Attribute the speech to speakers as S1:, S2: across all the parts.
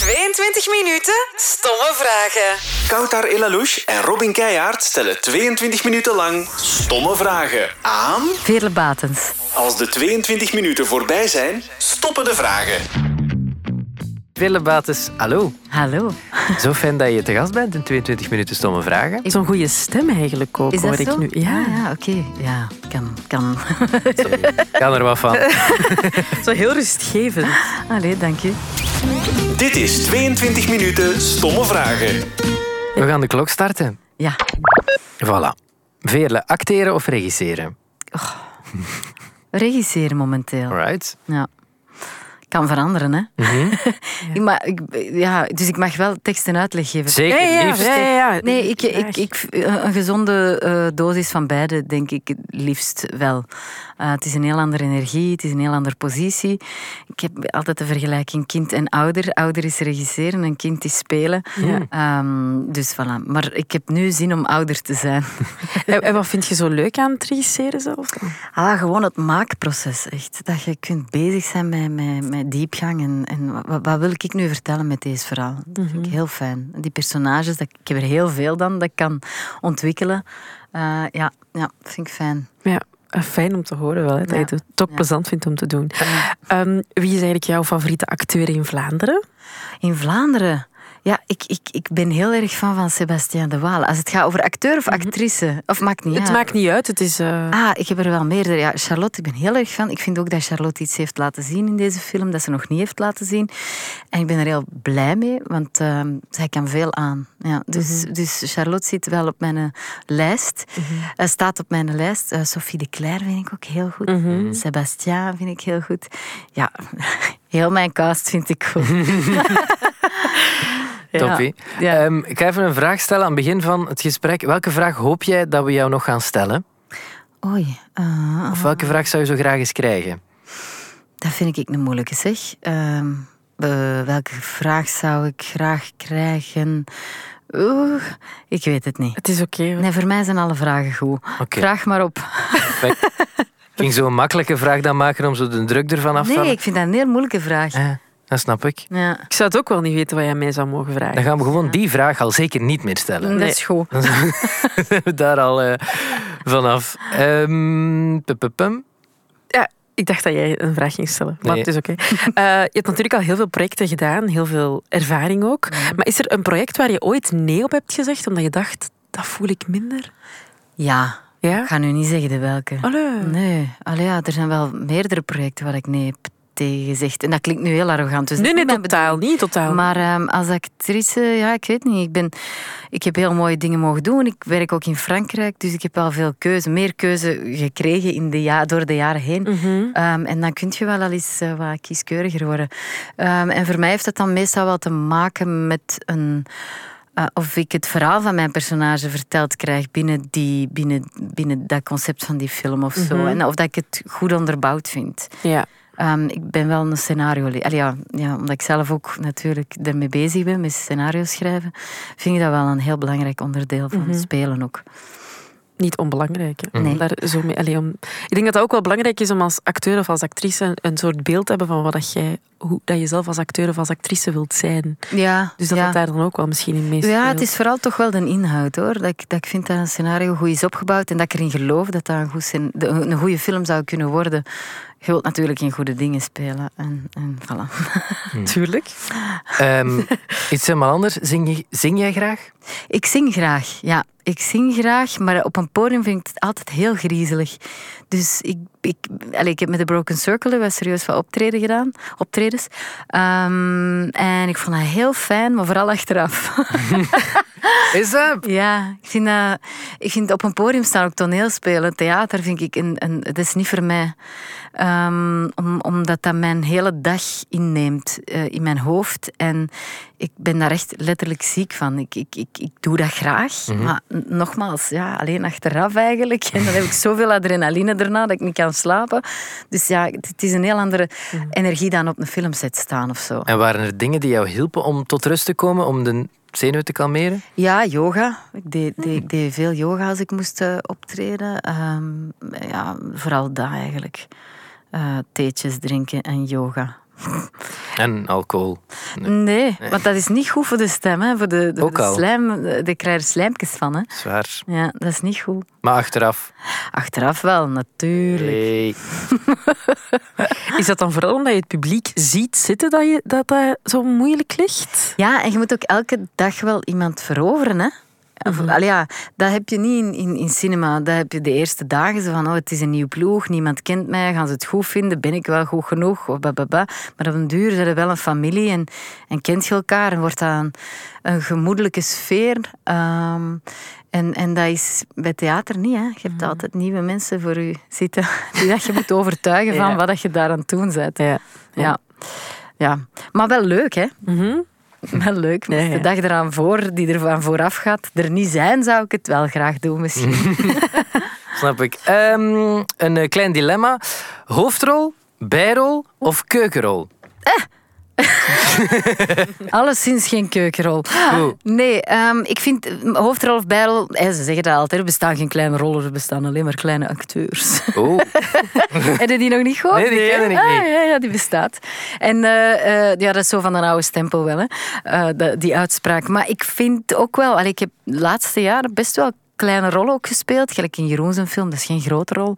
S1: 20 minuten stomme vragen.
S2: Koutar Elalouche en Robin Keijaard stellen 22 minuten lang stomme vragen aan.
S3: Veerle Batens.
S2: Als de 22 minuten voorbij zijn, stoppen de vragen.
S4: Willebates, hallo.
S3: Hallo.
S4: Zo fijn dat je te gast bent in 22 minuten stomme vragen.
S5: Zo'n goede stem eigenlijk ook,
S3: Is
S5: hoor
S3: dat
S5: ik
S3: zo?
S5: nu. Ja.
S3: Ah, ja oké. Ja, kan. kan.
S4: Ik kan er wat van.
S5: Zo heel rustgevend.
S3: Allee, dank u.
S2: Dit is 22 minuten stomme vragen.
S4: We gaan de klok starten.
S3: Ja,
S4: Voilà. Veerle, acteren of regisseren?
S3: regisseren momenteel.
S4: Right.
S3: Ja. Kan veranderen, hè.
S5: Mhm.
S3: ik ma- ik, ja, dus ik mag wel tekst en uitleg geven.
S4: Zeker,
S5: Ja, ja,
S4: liefst.
S5: ja, ja, ja.
S3: Nee, ik, ik,
S5: Graag.
S3: ik, een gezonde eh, dosis van beide, denk ik het liefst wel. Eh, het is een heel andere energie, het is een heel andere positie. Ik heb altijd de vergelijking kind en ouder. Ouder is regisseren en kind is spelen. Ehm, dus voilà. Maar ik heb nu zin om ouder te zijn.
S5: En, en wat vind je zo leuk aan het regisseren zelf dan?
S3: Ah, gewoon het maakproces, echt. Dat je kunt bezig zijn met, met, met diepgang. En, en wa- wa- wat, wil ik nu vertellen met deze verhaal? Dat
S5: Mhm.
S3: vind ik heel fijn. Die personages, dat, ik heb er heel veel dan, dat ik kan ontwikkelen. Eh, ja, ja, vind ik fijn.
S5: Ja, eh, fijn om te horen wel, hè, dat
S3: Ja.
S5: je het toch
S3: Ja.
S5: plezant vindt om te doen. Ehm, wie is eigenlijk jouw favoriete acteur in Vlaanderen?
S3: In Vlaanderen... Ja, ik, ik, ik ben heel erg fan van Sébastien de Waal. Als het gaat over acteur of actrice, of maakt niet
S5: Mhm. Het
S3: uit.
S5: maakt niet uit, het is... eh,
S3: Ah, ik heb er wel meerdere. Ja, Charlotte, ik ben heel erg van. Ik vind ook dat Charlotte iets heeft laten zien in deze film dat ze nog niet heeft laten zien. En ik ben er heel blij mee, want ehm, zij kan veel aan. Ja, dus, dus Charlotte zit wel op mijn eh, lijst. Eh, staat op mijn lijst. Eh, Sophie de Cler vind ik ook heel goed. Sébastien vind ik heel goed. Ja, heel mijn cast vind ik goed.
S5: ja.
S4: Toppie.
S3: Ja.
S4: Ehm, ik ga even een vraag stellen aan het begin van het gesprek. Welke vraag hoop jij dat we jou nog gaan stellen?
S3: Oei. eh,
S4: Of welke vraag zou je zo graag eens krijgen?
S3: Dat vind ik een moeilijke zeg. Ehm, eh, welke vraag zou ik graag krijgen? Oeh, ik weet het niet.
S5: Het is oké. hoor.
S3: Nee, voor mij zijn alle vragen goed.
S4: Oké.
S3: Vraag maar op.
S4: Perfect. Ik ging zo'n makkelijke vraag dan maken om zo de druk ervan af te
S3: Nee,
S4: halen.
S3: ik vind dat een heel moeilijke vraag.
S4: Eh, dat snap ik.
S3: Ja,
S5: Ik zou het ook wel niet weten wat jij mij zou mogen
S4: Dan
S5: vragen.
S4: gaan we gewoon die vraag al zeker niet meer stellen.
S3: dat is goed.
S4: Dan zijn we daar al eh, vanaf. Ehm, pu- pu- pum.
S5: Ja, ik dacht dat jij een vraag ging stellen, maar
S4: Nee.
S5: het is oké. Eh, je hebt natuurlijk al heel veel projecten gedaan, heel veel ervaring ook. Maar is er een project waar je ooit nee op hebt gezegd, omdat je dacht, dat voel ik minder?
S3: Ja, ik
S5: Ja? Oh,
S3: ga Mm, nu niet zeggen de welke.
S5: Allee.
S3: Nee, Allee, ja, er zijn wel meerdere projecten waar ik nee heb tegen gezegd. En dat klinkt nu heel arrogant. Dus dat
S5: Nee,
S3: is
S5: nee,
S3: niet mijn
S5: totaal niet, totaal niet.
S3: Maar ehm, als actrice, ja, ik weet niet. Ik, ben, ik heb heel mooie dingen mogen doen. Ik werk ook in Frankrijk, dus ik heb wel veel keuze, meer keuze gekregen in de ja, door de jaren heen. Ehm, en dan kun je wel al eens eh, wat kieskeuriger worden. Ehm, en voor mij heeft dat dan meestal wel te maken met een. eh, of ik het verhaal van mijn personage verteld krijg binnen, die, binnen, binnen dat concept van die film of zo. En of dat ik het goed onderbouwd vind.
S5: Ja.
S3: Ehm, ik ben wel een scenario. Allee, ja, ja, omdat ik zelf ook natuurlijk ermee bezig ben met scenario schrijven, vind ik dat wel een heel belangrijk onderdeel van het spelen ook.
S5: niet onbelangrijk. hè. Om
S3: Nee.
S5: Daar zo mee, allee, om, ik denk dat dat ook wel belangrijk is om als acteur of als actrice een, een soort beeld te hebben van wat dat jij, hoe dat je zelf als acteur of als actrice wilt zijn.
S3: Ja,
S5: Dus dat
S3: ja.
S5: dat daar dan ook wel misschien in meespeelt.
S3: ja, het is vooral toch wel de inhoud hoor. Dat ik, dat ik vind dat een scenario goed is opgebouwd en dat ik erin geloof dat dat een, goed scen- de- een goede film zou kunnen worden. Je wilt natuurlijk in goede dingen spelen. En, en voilà.
S5: natuurlijk.
S4: Ehm, iets helemaal anders. Zing, je- zing jij graag?
S3: Ik zing graag, ja. Ik zing graag, maar op een podium vind ik het altijd heel griezelig. Dus ik, ik, allee, ik heb met de Broken Circle wel serieus wat optreden gedaan, optredens. Ehm, en ik vond dat heel fijn, maar vooral achteraf.
S4: Is dat?
S3: ja, ik vind, dat, ik vind op een podium staan, ook toneelspelen, theater, vind ik een, een, dat is niet voor mij. Ehm, om, omdat dat mijn hele dag inneemt eh, in mijn hoofd. En ik ben daar echt letterlijk ziek van. Ik, ik, ik, ik doe dat graag. Maar n- nogmaals, ja, alleen achteraf eigenlijk. En dan heb ik zoveel adrenaline daarna dat ik niet kan slapen. Dus ja, het, het is een heel andere energie dan op een filmset staan of zo.
S4: En waren er dingen die jou hielpen om tot rust te komen, om de zenuwen te kalmeren?
S3: Ja, yoga. Ik deed, deed, ik deed veel yoga als ik moest eh, optreden. Ehm, ja, vooral dat eigenlijk. Eh theetjes drinken en yoga.
S4: En alcohol.
S3: Nee. want dat is niet goed voor de stem, hè. voor de, de,
S4: Ook
S3: de
S4: al.
S3: slijm. De krijg er slijmpjes van. Hè.
S4: Zwaar.
S3: Ja, dat is niet goed.
S4: Maar achteraf.
S3: Achteraf wel, natuurlijk.
S4: Hey.
S5: Is dat dan vooral omdat je het publiek ziet zitten dat je, dat, dat zo moeilijk ligt?
S3: Ja, en je moet ook elke dag wel iemand veroveren, hè? Of-
S5: Mhm.
S3: allee, ja, dat heb je niet in, in, in cinema. Dat heb je de eerste dagen zo van, oh, het is een nieuw ploeg, niemand kent mij, gaan ze het goed vinden, ben ik wel goed genoeg, Wa- ba, ba, ba. Maar op een duur zijn we wel een familie en, en kent je elkaar en wordt dat een, een gemoedelijke sfeer. Ehm, en, en dat is bij theater niet, hè. Je hebt
S5: Mhm.
S3: altijd nieuwe mensen voor je zitten die dat je moet overtuigen
S5: Ja.
S3: van wat dat je daar aan het doen bent.
S5: Ja.
S3: Ja. ja, maar wel leuk, hè?
S5: Mhm.
S3: Wel leuk. moest
S5: Ja, ja.
S3: De dag eraan voor, die ervan vooraf gaat, er niet zijn, zou ik het wel graag doen
S5: Mhm.
S3: misschien.
S4: Snap ik. Ehm, een eh, klein dilemma. Hoofdrol, bijrol of keukenrol?
S3: Alleszins geen keukenrol. Ah,
S4: Goed.
S3: Nee, ehm, ik vind eh, hoofdrol of bijrol... eh, ze zeggen dat altijd, er bestaan geen kleine rollen, er bestaan alleen maar kleine acteurs.
S4: Oh,
S3: Heb je die nog niet gehoord?
S4: Nee, die kennen ik
S3: Ah,
S4: niet.
S3: ja, ja, die bestaat. En eh, eh, ja, dat is zo van een oude stempel wel, hè. Eh, dat- die uitspraak. Maar ik vind ook wel... allee, ik heb de laatste jaren best wel kleine rollen ook gespeeld. Gelijk in Jeroen zijn film, dat is geen grote rol.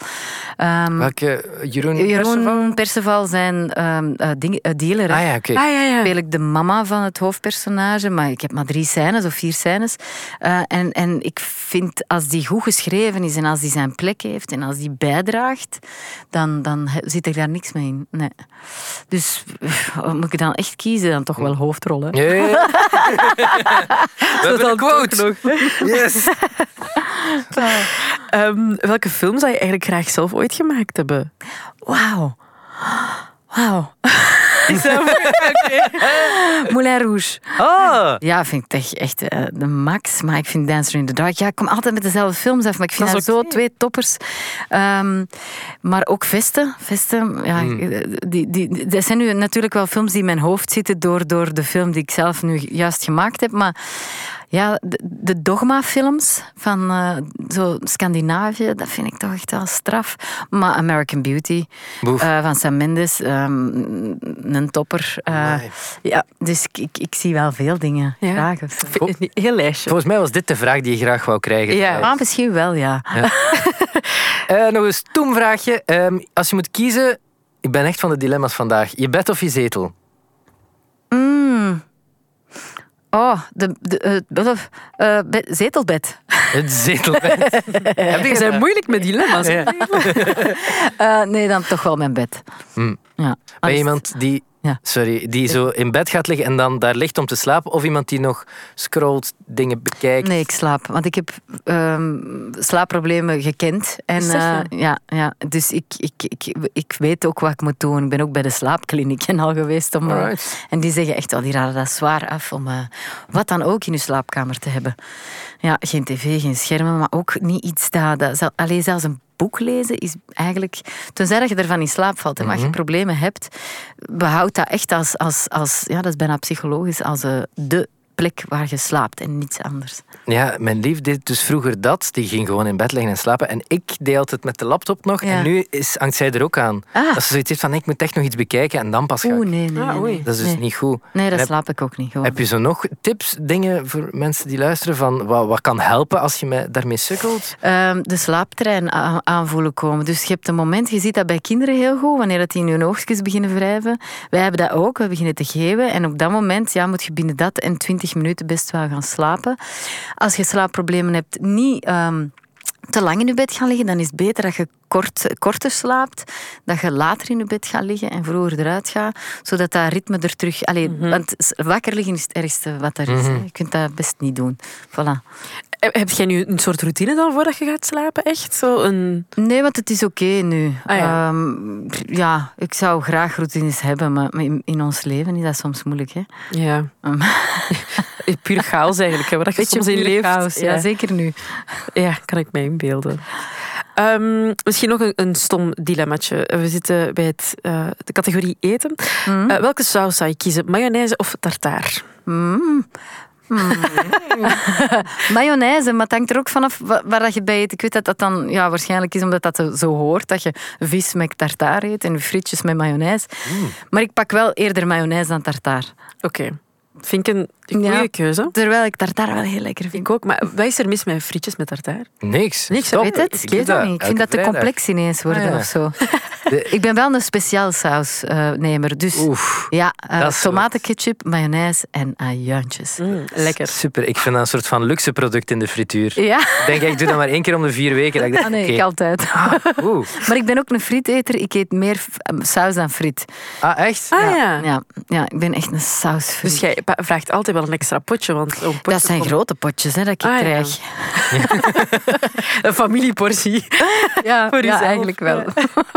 S3: Ehm,
S4: welke? eh, Jeroen, Perceval?
S3: Jeroen Perceval, zijn ehm, eh, ding- eh, dealer. hè.
S4: Ah ja, oké.
S5: Ah ja, ja.
S3: Speel ik de mama van het hoofdpersonage, maar ik heb maar drie scènes of vier scènes. Eh, en, en ik vind als die goed geschreven is en als die zijn plek heeft en als die bijdraagt, dan, dan he- zit ik daar niks mee in. Nee. Dus eh, moet ik dan echt kiezen? Dan toch wel hoofdrollen.
S4: Ja, ja, ja. We hebben een quote. Yes.
S5: Ehm, welke film zou je eigenlijk graag zelf ooit gemaakt hebben?
S3: Wauw. Wauw. Moulin Rouge.
S4: Ah,
S3: Ja, vind ik echt, echt eh, de max. Maar ik vind Dancer in the Dark... Ja, ik kom altijd met dezelfde films af, maar ik vind
S5: Dat
S3: dat
S5: is
S3: zo
S5: oké.
S3: twee toppers. Ehm, maar ook Vesten. Vesten, ja, eh, die, die, dat zijn nu natuurlijk wel films die in mijn hoofd zitten door, door de film die ik zelf nu juist gemaakt heb. Maar ja, de, de dogma-films van eh, zo Scandinavië, dat vind ik toch echt wel straf. Maar American Beauty
S4: Boef.
S3: eh, van Sam Mendes, ehm, een topper. eh,
S4: Amai.
S3: ja, dus ik, ik, ik zie wel veel dingen.
S5: Ja.
S3: Graag of zo.
S5: Vind- Een heel lijstje.
S4: volgens mij was dit de vraag die je graag wou krijgen.
S5: Ja.
S4: trouwens.
S3: Ah, misschien wel, ja.
S4: Eh, nog een stoem vraagje. Ehm, als je moet kiezen, ik ben echt van de dilemma's vandaag. Je bed of je zetel?
S3: Mm. Oh, de, de, eh, bluff. Eh, be- zetelbed.
S4: Het zetelbed. Heb je
S5: Ze zijn
S4: gedaan?
S5: moeilijk met dilemma's.
S4: Ja.
S3: Eh, nee, dan toch wel mijn bed.
S4: Mm.
S3: Ja. Ah, dus
S4: Ben
S3: Anders-
S4: je iemand die,
S3: Ja.
S4: sorry, die zo in bed gaat liggen en dan daar ligt om te slapen? Of iemand die nog scrolt, dingen bekijkt?
S3: Nee, ik slaap. Want ik heb ehm, slaapproblemen gekend. En,
S5: Is dat
S3: eh,
S5: waar?
S3: ja, ja, dus ik, ik, ik, ik weet ook wat ik moet doen. Ik ben ook bij de slaapkliniek en al geweest. Om, eh,
S4: Alright.
S3: en die zeggen echt wel, die raden dat zwaar af om eh, wat dan ook in je slaapkamer te hebben. Ja, geen tv, geen schermen, maar ook niet iets dat... dat zel- allee, zelfs een boek lezen is eigenlijk... Tenzij dat je ervan in slaap valt, hè, maar als
S5: Mhm.
S3: je problemen hebt, behoud dat echt als... als, als ja, dat is bijna psychologisch, als eh, de plek waar je slaapt en niets anders.
S4: Ja, mijn lief deed dus vroeger dat. Die ging gewoon in bed liggen en slapen. En ik deed altijd met de laptop nog.
S3: Ja.
S4: En nu is, hangt zij er ook aan.
S3: Ah.
S4: Dat ze zoiets heeft van, nee, ik moet echt nog iets bekijken en dan pas gaan.
S3: Oeh, nee, nee.
S5: Ah,
S3: nee,
S5: oei.
S3: nee.
S4: Dat is dus
S3: nee.
S4: niet goed.
S3: Nee,
S4: En
S3: dat
S4: heb-
S3: slaap ik ook niet. Gewoon.
S4: Heb je zo nog tips, dingen voor mensen die luisteren? Van wat, wat kan helpen als je me, daarmee sukkelt?
S3: Ehm, de slaaptrein a- aanvoelen komen. Dus je hebt een moment, je ziet dat bij kinderen heel goed, wanneer dat die in hun oogstjes beginnen wrijven. Wij hebben dat ook, we beginnen te geven. En op dat moment ja, moet je binnen dat en 20 minuten best wel gaan slapen. Als je slaapproblemen hebt, niet ehm, te lang in je bed gaan liggen, dan is het beter dat je kort, korter slaapt, dat je later in je bed gaat liggen en vroeger eruit gaat, zodat dat ritme er terug... Allee, Want s- wakker liggen is het ergste wat er is. hè. Je kunt dat best niet doen. Voilà.
S5: Heb heb jij nu een soort routine dan voordat je gaat slapen? Echt zo een...
S3: Nee, want het is oké nu.
S5: Ah, ja.
S3: Ehm, pff, ja, ik zou graag routines hebben, maar maar in, in ons leven is dat soms moeilijk. Hè?
S5: Ja.
S3: Mm.
S5: Puur chaos eigenlijk. Hè, waar dat je soms in
S3: pure
S5: leeft.
S3: chaos, ja.
S5: Ja.
S3: zeker nu.
S5: Ja, kan ik mij inbeelden. Ehm, misschien nog een, een stom dilemmaatje. We zitten bij het, eh, de
S3: Hmm.
S5: categorie eten. Eh, welke saus zou je kiezen? Mayonaise of tartaar?
S3: Mm. Mayonaise, maar het hangt er ook vanaf wa- waar dat je bij eet. Ik weet dat dat dan ja, waarschijnlijk is omdat dat zo hoort. Dat je vis met tartaar eet en frietjes met mayonaise. Maar ik pak wel eerder mayonaise dan tartaar.
S5: Oké. Vind ik een goede
S3: Ja.
S5: keuze.
S3: Terwijl ik tartaar wel heel lekker vind.
S5: Ik ook. Maar wat is er mis met frietjes met tartaar?
S4: Niks.
S5: Niks,
S4: Stop.
S5: Oh,
S3: Weet het?
S4: doe
S3: Ik weet het niet. Ik vind
S4: elke
S3: dat te
S4: vrijdag.
S3: complex ineens worden
S4: Ah, ja.
S3: of zo.
S4: De-
S3: Ik ben wel een speciaal sausnemer. Dus
S4: Oef,
S3: ja, eh,
S4: dat is zo.
S3: tomatenketchup, mayonaise en ajuintjes.
S5: Mm. lekker.
S4: super. Ik vind dat een soort van luxe product in de frituur.
S3: Ja,
S4: Ik denk, ik doe dat maar één keer om de vier weken. Dat ik denk,
S3: Ah, nee, ik
S4: oké.
S3: altijd.
S4: Oeh.
S3: Maar ik ben ook een frieteter. Ik eet meer f- eh, saus dan friet.
S4: Ah, echt?
S5: Ah ja.
S3: Ja, ja ik ben echt een sausfriet.
S5: Dus jij pa- vraagt altijd wel een extra potje. Want een potje
S3: dat zijn
S5: komt-
S3: grote potjes hè, dat ik
S5: Ah, ja.
S3: krijg.
S5: Een familieportie.
S3: Ja,
S5: Voor jezelf.
S3: eigenlijk wel.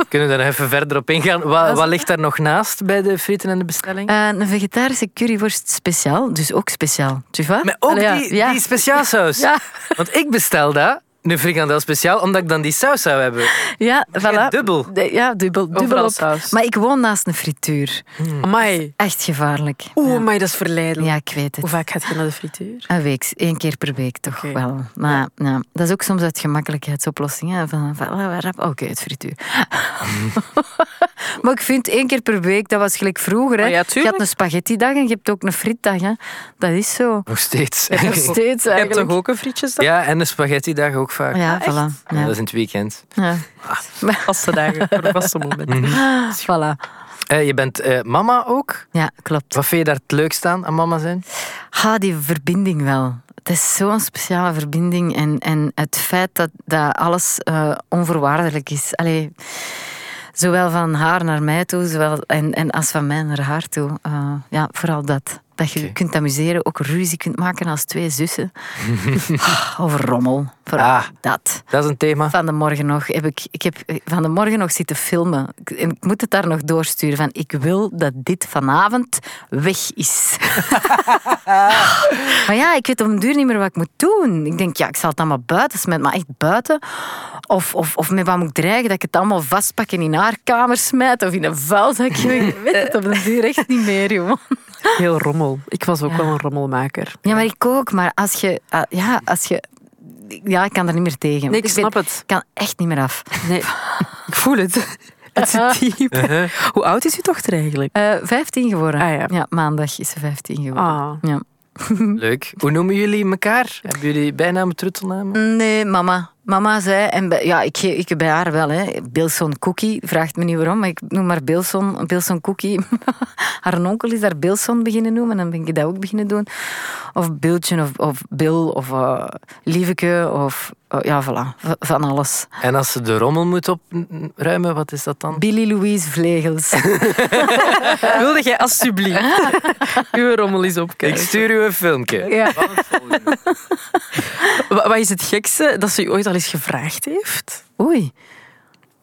S4: Kunnen we daar nog even verder op ingaan? Wat, wat ligt daar nog naast bij de frieten en de bestelling?
S3: Eh, een vegetarische curryworst speciaal, dus ook speciaal. Tu vois?
S4: Maar ook
S3: Ah, Allee, ja,
S4: die,
S3: ja.
S4: die speciaalsaus. Want ik bestel dat, een frikandel speciaal, omdat ik dan die saus zou hebben.
S3: Ja,
S4: Ja,
S3: voilà.
S4: dubbel.
S3: De- ja, dubbel, dubbel
S5: Overal
S3: op.
S5: saus.
S3: Maar ik woon naast een frituur.
S5: Amai.
S3: Echt gevaarlijk.
S5: Oeh, amai, dat is verleidelijk.
S3: Hmm. Ja, ik weet het.
S5: Hoe vaak gaat je naar de frituur?
S3: Een week, één keer per week toch
S5: Oké.
S3: wel. Maar ja. dat is ook soms uit gemakkelijkheidsoplossing. hè, Van, van, ah, rap, Oké, het frituur. maar ik vind één keer per week, dat was gelijk vroeger. Hè.
S5: Ah ja,
S3: je
S5: tuurlijk.
S3: had een spaghetti-dag en je hebt ook een frietdag. Hè. Dat is zo.
S4: Nog steeds.
S3: Nog steeds
S5: Je hebt
S3: eigenlijk.
S5: toch ook een frietjesdag?
S4: Ja, en de spaghetti-dag ook vaak.
S3: Ja,
S5: Ah,
S3: voilà.
S4: Ja, Dat
S3: Ja.
S4: is in het weekend.
S3: Ja.
S5: Vaste dagen, voor een vaste moment. Ah. Dus
S3: voilà.
S4: Eh, je bent eh, mama ook.
S3: Ja, klopt.
S4: Wat vind je daar het leukst aan, aan mama zijn?
S3: Ha, die verbinding wel. Het is zo'n speciale verbinding. En, en het feit dat, dat alles eh, onvoorwaardelijk is. Allee, zowel van haar naar mij toe, zowel, en, en als van mij naar haar toe. Eh, ja, vooral dat. Dat je
S4: Oké.
S3: kunt amuseren, ook ruzie kunt maken als twee zussen. Ah, Over rommel. Vooral
S4: Ah.
S3: dat.
S4: Dat is een thema.
S3: Van de morgen nog heb ik, ik heb eh, van de morgen nog zitten filmen. Ik, en ik moet het daar nog doorsturen. Van, ik wil dat dit vanavond weg is. maar ja, ik weet op een duur niet meer wat ik moet doen. Ik denk, ja, ik zal het allemaal buiten smijten. Maar echt buiten. Of, of, of met wat moet ik dreigen? Dat ik het allemaal vastpak en in haar kamer smijt. Of in een vuilzakje. Ik weet het op een duur echt niet meer, jongen.
S5: Heel rommel. Ik was ook
S3: Ja.
S5: wel een rommelmaker.
S3: Ja, maar ik ook. Maar als je... ah, ja, als je... Ja, ik kan er niet meer tegen.
S5: Nee, ik
S3: ben-
S5: snap het.
S3: Ik kan echt niet meer af.
S5: Nee, ik voel het. Het zit diep. Hoe oud is uw dochter eigenlijk?
S3: Eh, 15 geworden.
S5: Ah, ja.
S3: maandag is ze 15 geworden.
S5: Ah,
S3: Ja.
S4: Leuk. Hoe noemen jullie elkaar? Hebben jullie bijnamen, truttelnamen?
S3: Nee, mama. Mama zei, en bij, ja, ik, ge- ik bij haar wel, hè. Bilson Cookie, vraagt me niet waarom, maar ik noem haar Bilson, Bilson Cookie. haar onkel is daar Bilson beginnen noemen, en dan ben ik dat ook beginnen doen. Of Biltje, of, of Bill, of eh, Lieveke, of eh, ja, voilà, v- van alles.
S4: En als ze de rommel moet opruimen, wat is dat dan?
S3: Billy Louise Vlegels.
S5: Wilde jij alsjeblieft uw rommel eens
S4: Ik
S5: opkijken?
S4: stuur u een filmpje.
S3: ja.
S5: Wa- Wat is het gekste dat ze u ooit al eens gevraagd heeft?
S3: Oei.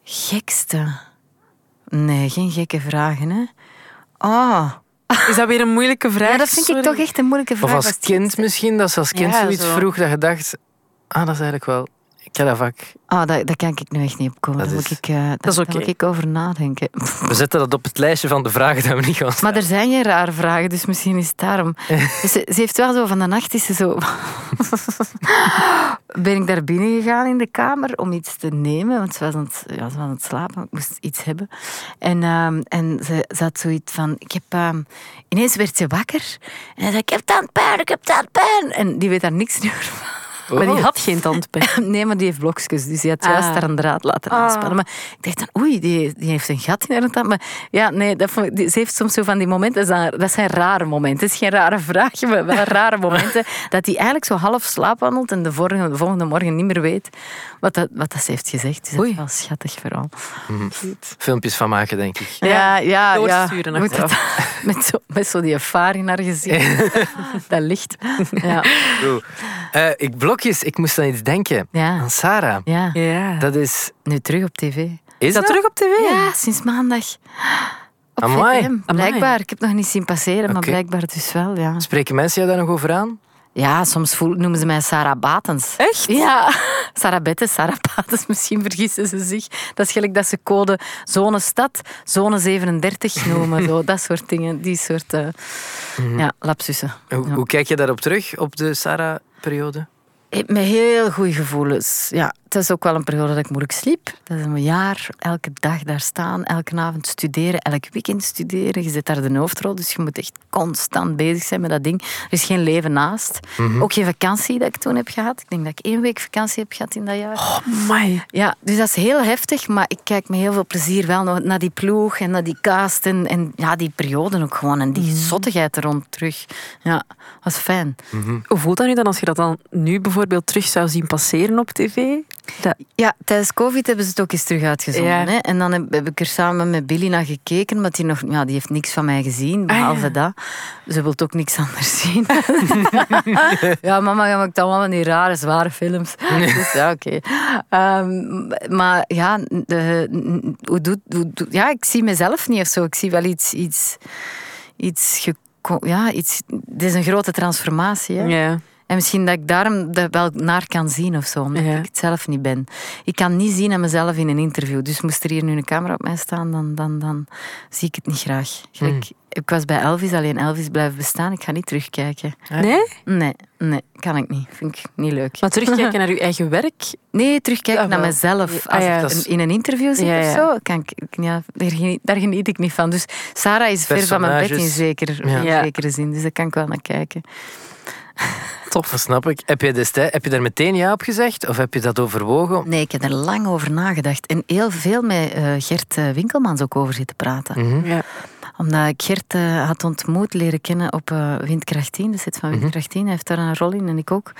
S3: Gekste. Nee, geen gekke vragen, hè. Ah.
S5: Is dat weer een moeilijke vraag?
S3: Ja, dat vind ik
S5: Sorry.
S3: toch echt een moeilijke vraag.
S4: Of
S3: wat
S4: als
S3: het is.
S4: kind misschien, dat ze als kind
S5: Ja,
S4: zoiets
S5: zo.
S4: vroeg dat je dacht... Ah, dat is eigenlijk wel... Ik ken dat vak.
S3: Ah, dat, dat kan ik nu echt niet opkomen.
S4: Dat
S3: Daar
S4: is-
S3: moet ik, eh, daar-
S5: dat is
S3: daar
S5: oké.
S3: moet ik over nadenken.
S4: We zetten dat op het lijstje van de vragen dat we niet gaan
S3: Maar er zijn geen rare vragen, dus misschien is het daarom. Dus ze, ze heeft wel zo van de nacht is ze zo. ben ik daar binnen gegaan in de kamer om iets te nemen, want ze was aan het, ja, ze was aan het slapen, ik moest iets hebben. En, ehm, en ze, ze had zoiets van: ik heb, ehm, ineens werd ze wakker en hij zei: Ik heb tandpijn, ik heb tandpijn. En die weet daar niks meer van.
S5: Maar
S4: Oh.
S5: die had geen tandpijn.
S3: Nee, maar die heeft blokjes, dus die had juist
S5: Ah.
S3: daar een draad laten aanspannen. Maar ik dacht dan, oei, die, die heeft een gat in haar tand. Maar ja, nee, dat vond ik- die- ze heeft soms zo van die momenten, dat zijn, dat zijn rare momenten. Het is geen rare vraag, maar wel rare momenten. Dat hij eigenlijk zo half slaapwandelt en de vorige- de volgende morgen niet meer weet wat dat, wat dat ze heeft gezegd. Dus dat is
S5: Oei.
S3: wel schattig vooral.
S4: filmpjes van maken, denk ik.
S3: Ja, ja,
S5: doorsturen
S3: ja. Moet
S5: achteraf.
S3: het- met, zo, met zo die ervaring in haar gezicht. dat licht. Ja,
S4: Eh, ik blokjes, ik moest aan iets denken.
S3: ja.
S4: Aan Sarah.
S3: ja.
S5: Ja.
S4: Dat is...
S3: nu terug op tv.
S4: Is dat
S5: terug op tv?
S3: Ja, sinds maandag. Op
S4: Amai.
S3: VTM, blijkbaar. Ik heb het nog niet zien passeren, maar
S4: Oké.
S3: blijkbaar dus wel, ja.
S4: Spreken mensen jou daar nog over aan?
S3: Ja, soms voel, noemen ze mij Sarah Batens.
S5: Echt?
S3: Ja, Sarah Bettes, Sarah Batens, misschien vergissen ze zich. Dat is gelijk dat ze code zone stad, zone 37 noemen. zo, dat soort dingen, die soort eh, ja, lapsussen.
S4: Mhm. Hoe, hoe kijk je daarop terug, op de Sarah-periode?
S3: Ik Met heel goede gevoelens. Ja, het is ook wel een periode dat ik moeilijk sliep. Dat is een jaar, elke dag daar staan, elke avond studeren, elk weekend studeren. Je zit daar de hoofdrol, dus je moet echt constant bezig zijn met dat ding. Er is geen leven naast. Ook geen vakantie dat ik toen heb gehad. Ik denk dat ik één week vakantie heb gehad in dat jaar.
S5: Oh my.
S3: Ja, dus dat is heel heftig, maar ik kijk met heel veel plezier wel nog naar die ploeg en naar die cast en, en ja, die perioden ook gewoon en die zottigheid er rond terug. Ja, was fijn.
S5: Hoe voelt dat nu dan als je dat dan nu bijvoorbeeld terug zou zien passeren op tv? Dat,
S3: Ja, tijdens COVID hebben ze het ook eens terug uitgezonden.
S5: Ja.
S3: Hè? En dan heb, heb ik er samen met Billy naar gekeken, maar die, nog, ja, die heeft niks van mij gezien,
S5: Ah,
S3: behalve
S5: ja.
S3: dat. Ze wil ook niks anders zien. ja, mama je maakt allemaal van die rare, zware films. dus ja, oké. Ehm, maar ja, de, hoe doet, hoe doet- ja, ik zie mezelf niet of zo. Ik zie wel iets... iets, iets geko- ja, iets, het is een grote transformatie. Hè?
S5: ja.
S3: En misschien dat ik daarom dat wel naar kan zien of zo, omdat
S5: Ja.
S3: ik het zelf niet ben. Ik kan niet zien aan mezelf in een interview. Dus moest er hier nu een camera op mij staan, dan, dan, dan zie ik het niet graag.
S5: Hmm.
S3: Gelijk, Ik was bij Elvis, alleen Elvis blijft bestaan. Ik ga niet terugkijken.
S5: Nee?
S3: Nee, nee, kan ik niet. Vind ik niet leuk.
S5: Maar terugkijken naar je eigen werk.
S3: Nee, terugkijken
S5: Ah,
S3: naar
S5: wel.
S3: mezelf.
S5: Ah,
S3: Als
S5: ja.
S3: ik
S5: Dat
S3: een-
S5: is-
S3: in een interview zit
S5: Ja,
S3: of
S5: ja.
S3: zo, kan ik, ik- ja, daar, geniet, daar geniet ik niet van. Dus Sarah is ver van mijn bed in,
S4: Personages.
S3: zeker,
S4: Ja.
S3: in zekere zin. Dus daar kan ik wel naar kijken.
S4: Dat snap ik. Heb je, destij- heb je daar meteen ja op gezegd? Of heb je dat overwogen?
S3: Nee, ik heb er lang over nagedacht. En heel veel met eh, Gert eh, Winkelmans ook over zitten praten.
S4: Mhm.
S5: Ja.
S3: Omdat ik Gert eh, had ontmoet, leren kennen op eh, Windkracht 10. De set van
S4: Mhm.
S3: Windkracht 10. Hij heeft daar een rol in en ik ook.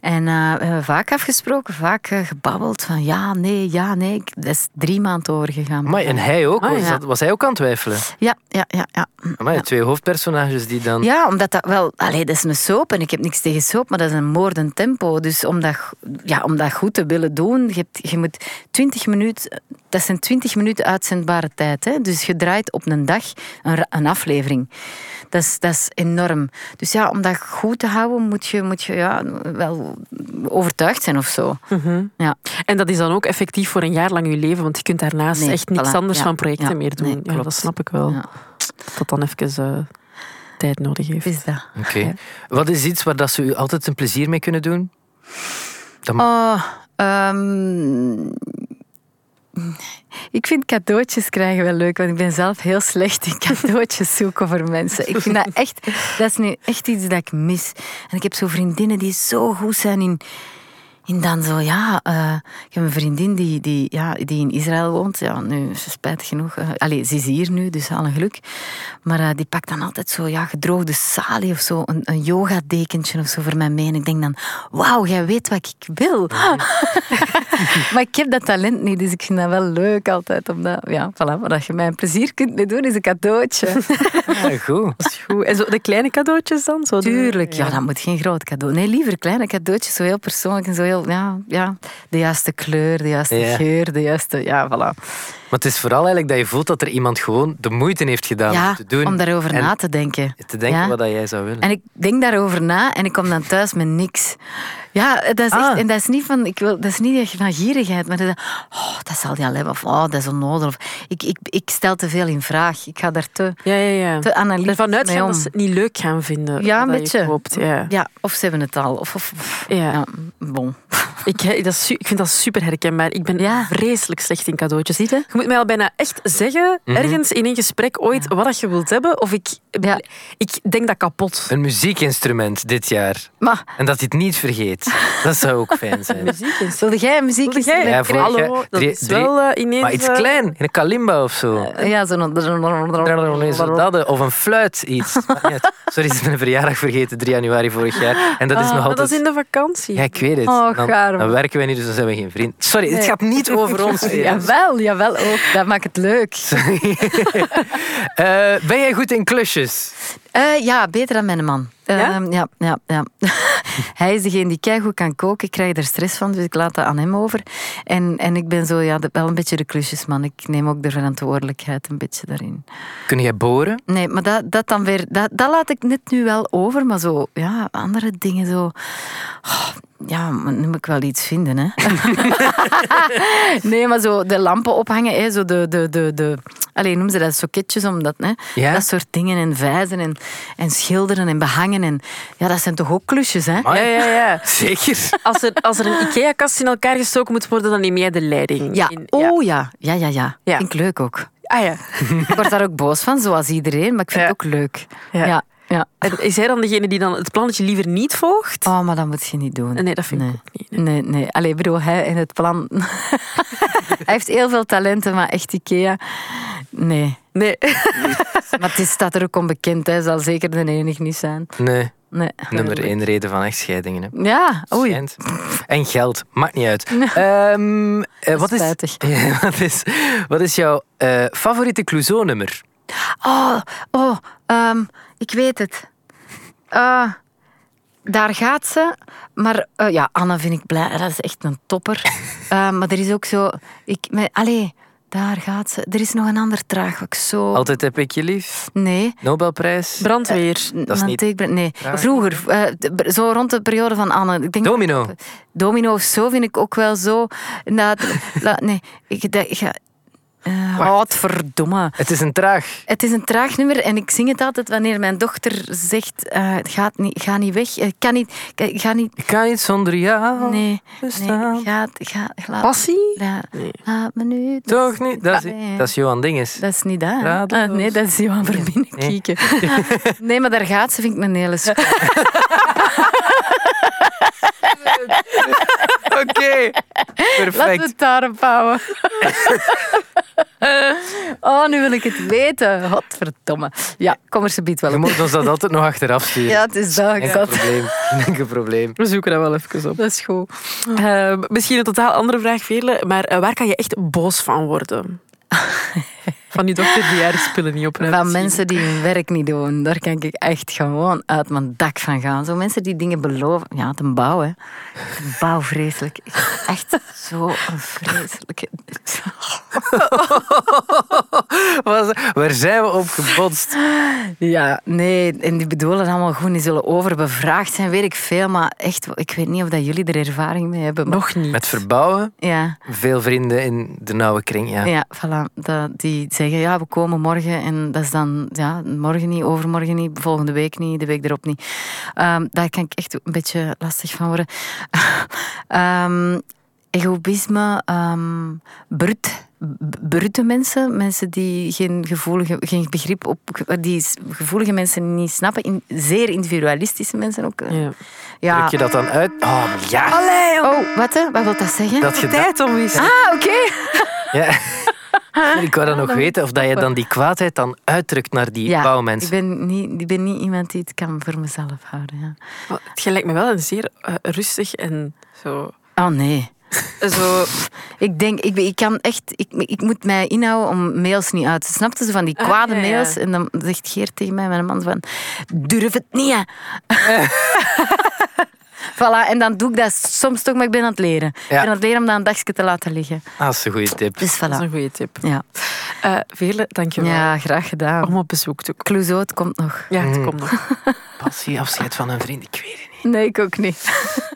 S3: En eh, we hebben vaak afgesproken, vaak eh, gebabbeld van ja, nee, ja, nee. Ik- Dat is drie maanden overgegaan.
S4: Amai, en hij ook?
S5: Ah,
S4: was,
S3: ja.
S4: dat- was hij ook aan het twijfelen?
S3: Ja, ja, ja, ja.
S4: Amai, Twee hoofdpersonages die dan...
S3: Ja, omdat dat wel... Allee, dat is een soap en ik heb niks tegen soap, maar dat is een moordend tempo. Dus om dat, go- ja, om dat goed te willen doen, je, hebt, je moet 20 minuten... Dat zijn 20 minuten uitzendbare tijd. Hè? Dus je draait op een dag een, ra- een aflevering. Dat is, dat is enorm. Dus ja, om dat goed te houden, moet je, moet je ja, wel overtuigd zijn of zo.
S5: Hm.
S3: Ja.
S5: Mhm. En dat is dan ook effectief voor een jaar lang je leven, want je kunt daarnaast
S3: Nee,
S5: echt niks
S3: voilà.
S5: anders
S3: Ja,
S5: van projecten
S3: ja,
S5: meer doen.
S3: nee,
S5: Ja,
S3: klopt.
S5: dat snap ik wel.
S3: Ja.
S5: Dat dan even eh, tijd nodig heeft.
S3: Is dat.
S4: Oké. Wat is iets waar dat ze u altijd een plezier mee kunnen doen?
S3: Oh, ehm, ik vind cadeautjes krijgen wel leuk, want ik ben zelf heel slecht in cadeautjes zoeken voor mensen. Ik vind dat echt, dat is nu echt iets dat ik mis. En ik heb zo vriendinnen die zo goed zijn in, in dan zo, ja, eh, ik heb een vriendin die, die, ja, die in Israël woont. Ja, nu, ze spijtig genoeg. eh, allee, ze is hier nu, dus al een geluk. Maar eh, die pakt dan altijd zo, ja, gedroogde salie of zo. Een, een yogadekentje of zo voor mij mee. En ik denk dan, wauw, jij weet wat ik wil. maar ik heb dat talent niet, dus ik vind dat wel leuk altijd. Omdat, ja, voilà, maar dat je mij een plezier kunt mee doen, is een cadeautje.
S4: Ja, Ah, goed.
S5: Dat is goed. En zo de kleine cadeautjes dan? Zo de-
S3: Tuurlijk, ja, dat moet geen groot cadeau. Nee, liever kleine cadeautjes, zo heel persoonlijk en zo heel, ja, ja. De juiste kleur, de juiste
S4: Ja.
S3: geur, de juiste, ja, voilà.
S4: Maar het is vooral eigenlijk dat je voelt dat er iemand gewoon de moeite heeft gedaan om
S3: Ja,
S4: te doen.
S3: om daarover
S4: en
S3: na te denken.
S4: Te denken
S3: Ja.
S4: wat dat jij zou willen.
S3: En ik denk daarover na en ik kom dan thuis met niks. Ja, dat is echt,
S4: Ah.
S3: en dat is niet van, ik wil, dat is niet echt van gierigheid, maar dat, oh, dat zal die al hebben, of oh, dat is onnodig. Of, ik, ik, ik stel te veel in vraag, ik ga daar te,
S5: Ja, ja, ja.
S3: te analytisch
S5: Ervan
S3: mee
S5: uitgaan
S3: om.
S5: dat ze het niet leuk gaan vinden.
S3: Ja, een
S5: dat je
S3: beetje.
S5: koopt, ja.
S3: Ja, of ze hebben het al, of, of- of-
S5: Ja.
S3: ja. bon.
S5: Ik, he- dat is su- ik vind dat super herkenbaar. Ik ben
S3: Ja.
S5: vreselijk slecht in cadeautjes. Je moet mij al bijna echt zeggen, ergens in een gesprek ooit, wat dat je wilt hebben. Of ik,
S3: Ja.
S5: ik denk dat kapot.
S4: Een muziekinstrument dit jaar.
S3: Maar
S4: En dat hij het niet vergeet. Dat zou ook fijn zijn.
S3: Wilde jij een muziek?
S5: jij?
S4: Ja, voor-
S5: Hallo, dat
S4: drie-
S5: is wel eh, ineens...
S4: Maar iets
S5: eh,
S4: klein, een kalimba of zo.
S3: Ja, zo'n...
S4: Zo dat, Of een fluit, iets. Maakt niet uit. Sorry, ze is mijn verjaardag vergeten, 3 januari vorig jaar. En dat is
S5: ah,
S4: nog
S5: maar
S4: altijd...
S5: Dat is in de vakantie.
S4: Ja, ik weet het.
S3: Oh,
S4: dan,
S3: gaar, man.
S4: dan werken wij niet, dus dan zijn we geen vriend. Sorry, het
S3: Nee.
S4: gaat niet over ons.
S3: Jawel, jawel ook. Dat maakt het leuk.
S4: Eh, ben jij goed in klusjes?
S3: Eh, ja, beter dan mijn man.
S5: Ja?
S3: Ehm, ja, ja, ja. Hij is degene die keigoed kan koken. Ik krijg er stress van, dus ik laat dat aan hem over. En, en ik ben zo ja, de- wel een beetje de klusjesman. Ik neem ook de verantwoordelijkheid een beetje daarin.
S4: Kun jij boren?
S3: Nee, maar dat, dat dan weer... Dat, dat laat ik net nu wel over, maar zo... Ja, andere dingen zo... Oh, ja, maar nu moet ik wel iets vinden, hè. nee, maar zo de lampen ophangen, hè, zo de... de, de, de Alleen noem ze dat soketjes, omdat, hè,
S4: Ja?
S3: dat soort dingen en vijzen en, en schilderen en behangen. En, ja, dat zijn toch ook klusjes, hè?
S4: Amai.
S5: ja, ja.
S4: Zeker.
S5: Als er, als er een IKEA-kast in elkaar gestoken moet worden, dan neem jij de leiding.
S3: Ja,
S5: In-
S3: oh ja. Ja, ja, ja.
S5: Ja.
S3: Vind ik leuk ook.
S5: Ah ja.
S3: Ik word daar ook boos van, zoals iedereen, maar ik vind
S5: Ja.
S3: het ook leuk.
S5: Ja.
S3: Ja. Ja,
S5: En is hij dan degene die dan het plannetje liever niet volgt?
S3: Oh, maar dat moet je niet doen.
S5: Nee, dat vind ik
S3: Nee.
S5: ook niet.
S3: Nee, nee. Allee, ik bedoel, hij in het plan... hij heeft heel veel talenten, maar echt Ikea... Nee.
S5: Nee.
S3: Maar het is, staat er ook onbekend, hij zal zeker de enige niet zijn.
S4: Nee,
S3: Nee.
S4: nummer één reden van echtscheidingen. Hè.
S3: Ja, oei.
S4: Schijnt. En geld, maakt niet uit. Ehm, eh, wat, is,
S3: Spijtig.
S4: Ja, wat, is, wat is jouw eh, favoriete Clouseau-nummer?
S3: Oh, oh, ehm, ik weet het. Eh, daar gaat ze. Maar eh, ja, Anna vind ik blij. Dat is echt een topper. Eh, maar er is ook zo... Ik, me- allee, daar gaat ze. Er is nog een ander traag wat ik zo...
S4: Altijd heb ik je lief.
S3: Nee.
S4: Nobelprijs.
S5: Brandweer.
S4: is
S3: Van
S4: niet-
S3: Teekbre- Nee, vroeger. eh, d- zo rond de periode van Anne. Ik denk
S4: Domino.
S3: Domino of zo vind ik ook wel zo... Na, la- nee, ik... Dat, ik ga, eh, godverdomme.
S4: Het is een traag.
S3: Het is een traag nummer en ik zing het altijd wanneer mijn dochter zegt: eh, het gaat niet, Ga niet weg. eh, kan niet, k- ga niet.
S4: Ik kan niet zonder jou.
S3: Nee,
S4: bestaan.
S3: nee ga, ga, laat,
S5: Passie?
S3: la- laat me nu.
S4: Toch niet? Dat is,
S3: Nee.
S4: dat is Johan Dinges.
S3: Ah, Dat is niet dat. hè?
S4: Radeloos.
S3: Ah, nee, dat is Johan Verbinnen
S4: Nee.
S3: kieken. Nee, maar daar gaat ze, vind ik een hele sp-
S4: Oké.
S3: Laten we
S4: Perfect.
S3: het daarop houden. oh, nu wil ik het weten. Godverdomme. Ja, kom er ze biedt wel
S4: Je
S3: op.
S4: moet ons dat altijd nog achteraf sturen.
S3: Ja, het is dat.
S4: Enkel
S3: God.
S4: probleem. Enkel probleem.
S5: We zoeken dat wel even op.
S3: Dat is goed.
S5: Eh, misschien een totaal andere vraag, Veerle, maar eh, waar kan je echt boos van worden? van die dochter die haar spullen niet op heeft
S3: Van
S5: gezien.
S3: mensen die hun werk niet doen, daar kan ik echt gewoon uit mijn dak van gaan. Zo mensen die dingen beloven. Ja, ten bouw, hè. Ten bouw, vreselijk. Echt zo'n vreselijke...
S4: Wat- Waar zijn we op gebotst?
S3: Ja, nee, en die bedoelen allemaal goed. Die zullen overbevraagd zijn, weet ik veel. Maar echt, ik weet niet of dat jullie er ervaring mee hebben. Maar,
S5: Nog niet.
S4: Met verbouwen,
S3: ja,
S4: veel vrienden in de nauwe kring. Ja.
S3: ja, voilà. Dat, die zeggen, ja, we komen morgen. En dat is dan ja, morgen niet, overmorgen niet, volgende week niet, de week erop niet. Ehm, daar kan ik echt een beetje lastig van worden. Ehm, egoïsme, ehm brut, b- brute mensen, mensen die geen, gevoelige, geen begrip op, die s- gevoelige mensen niet snappen, in, zeer individualistische mensen ook.
S5: Ja.
S3: Ja.
S4: Druk je dat dan uit? Oh, ja.
S5: Allee, om
S3: Oh, wat hè? Wat wil dat zeggen?
S4: Dat je dat-
S5: tijd om eens.
S3: Ah, oké.
S4: Ja. Ik wou dan nog weten of dat je dan die kwaadheid dan uitdrukt naar die
S3: ik
S4: bouwmensen.
S3: ben, niet, ik ben niet iemand die het kan voor mezelf houden. Ja.
S5: Maar Het lijkt me wel een zeer eh, rustig en zo.
S3: Oh nee.
S5: zo
S3: Ik denk, ik, ik kan echt, ik, ik moet mij inhouden om mails niet uit te snapten. Zo van die
S5: Ah,
S3: kwade
S5: ja, ja.
S3: mails. En dan zegt Geert tegen mij, mijn man, van, durf het niet, hè. voilà, en dan doe ik dat soms toch, maar ik ben aan het leren. Ik ben aan het leren om dat een dagje te laten liggen.
S4: Ah, dat is een goede tip.
S3: Dus
S5: dat is
S3: voilà.
S5: een goede tip.
S3: Ja.
S5: Eh Veerle, dankjewel
S3: ja, graag gedaan.
S5: om op bezoek te komen.
S3: Clouseau, het komt nog.
S5: Ja, het
S4: Mm.
S5: komt nog.
S4: Passie, afscheid van een vriend, ik weet het niet.
S3: Nee, ik ook niet.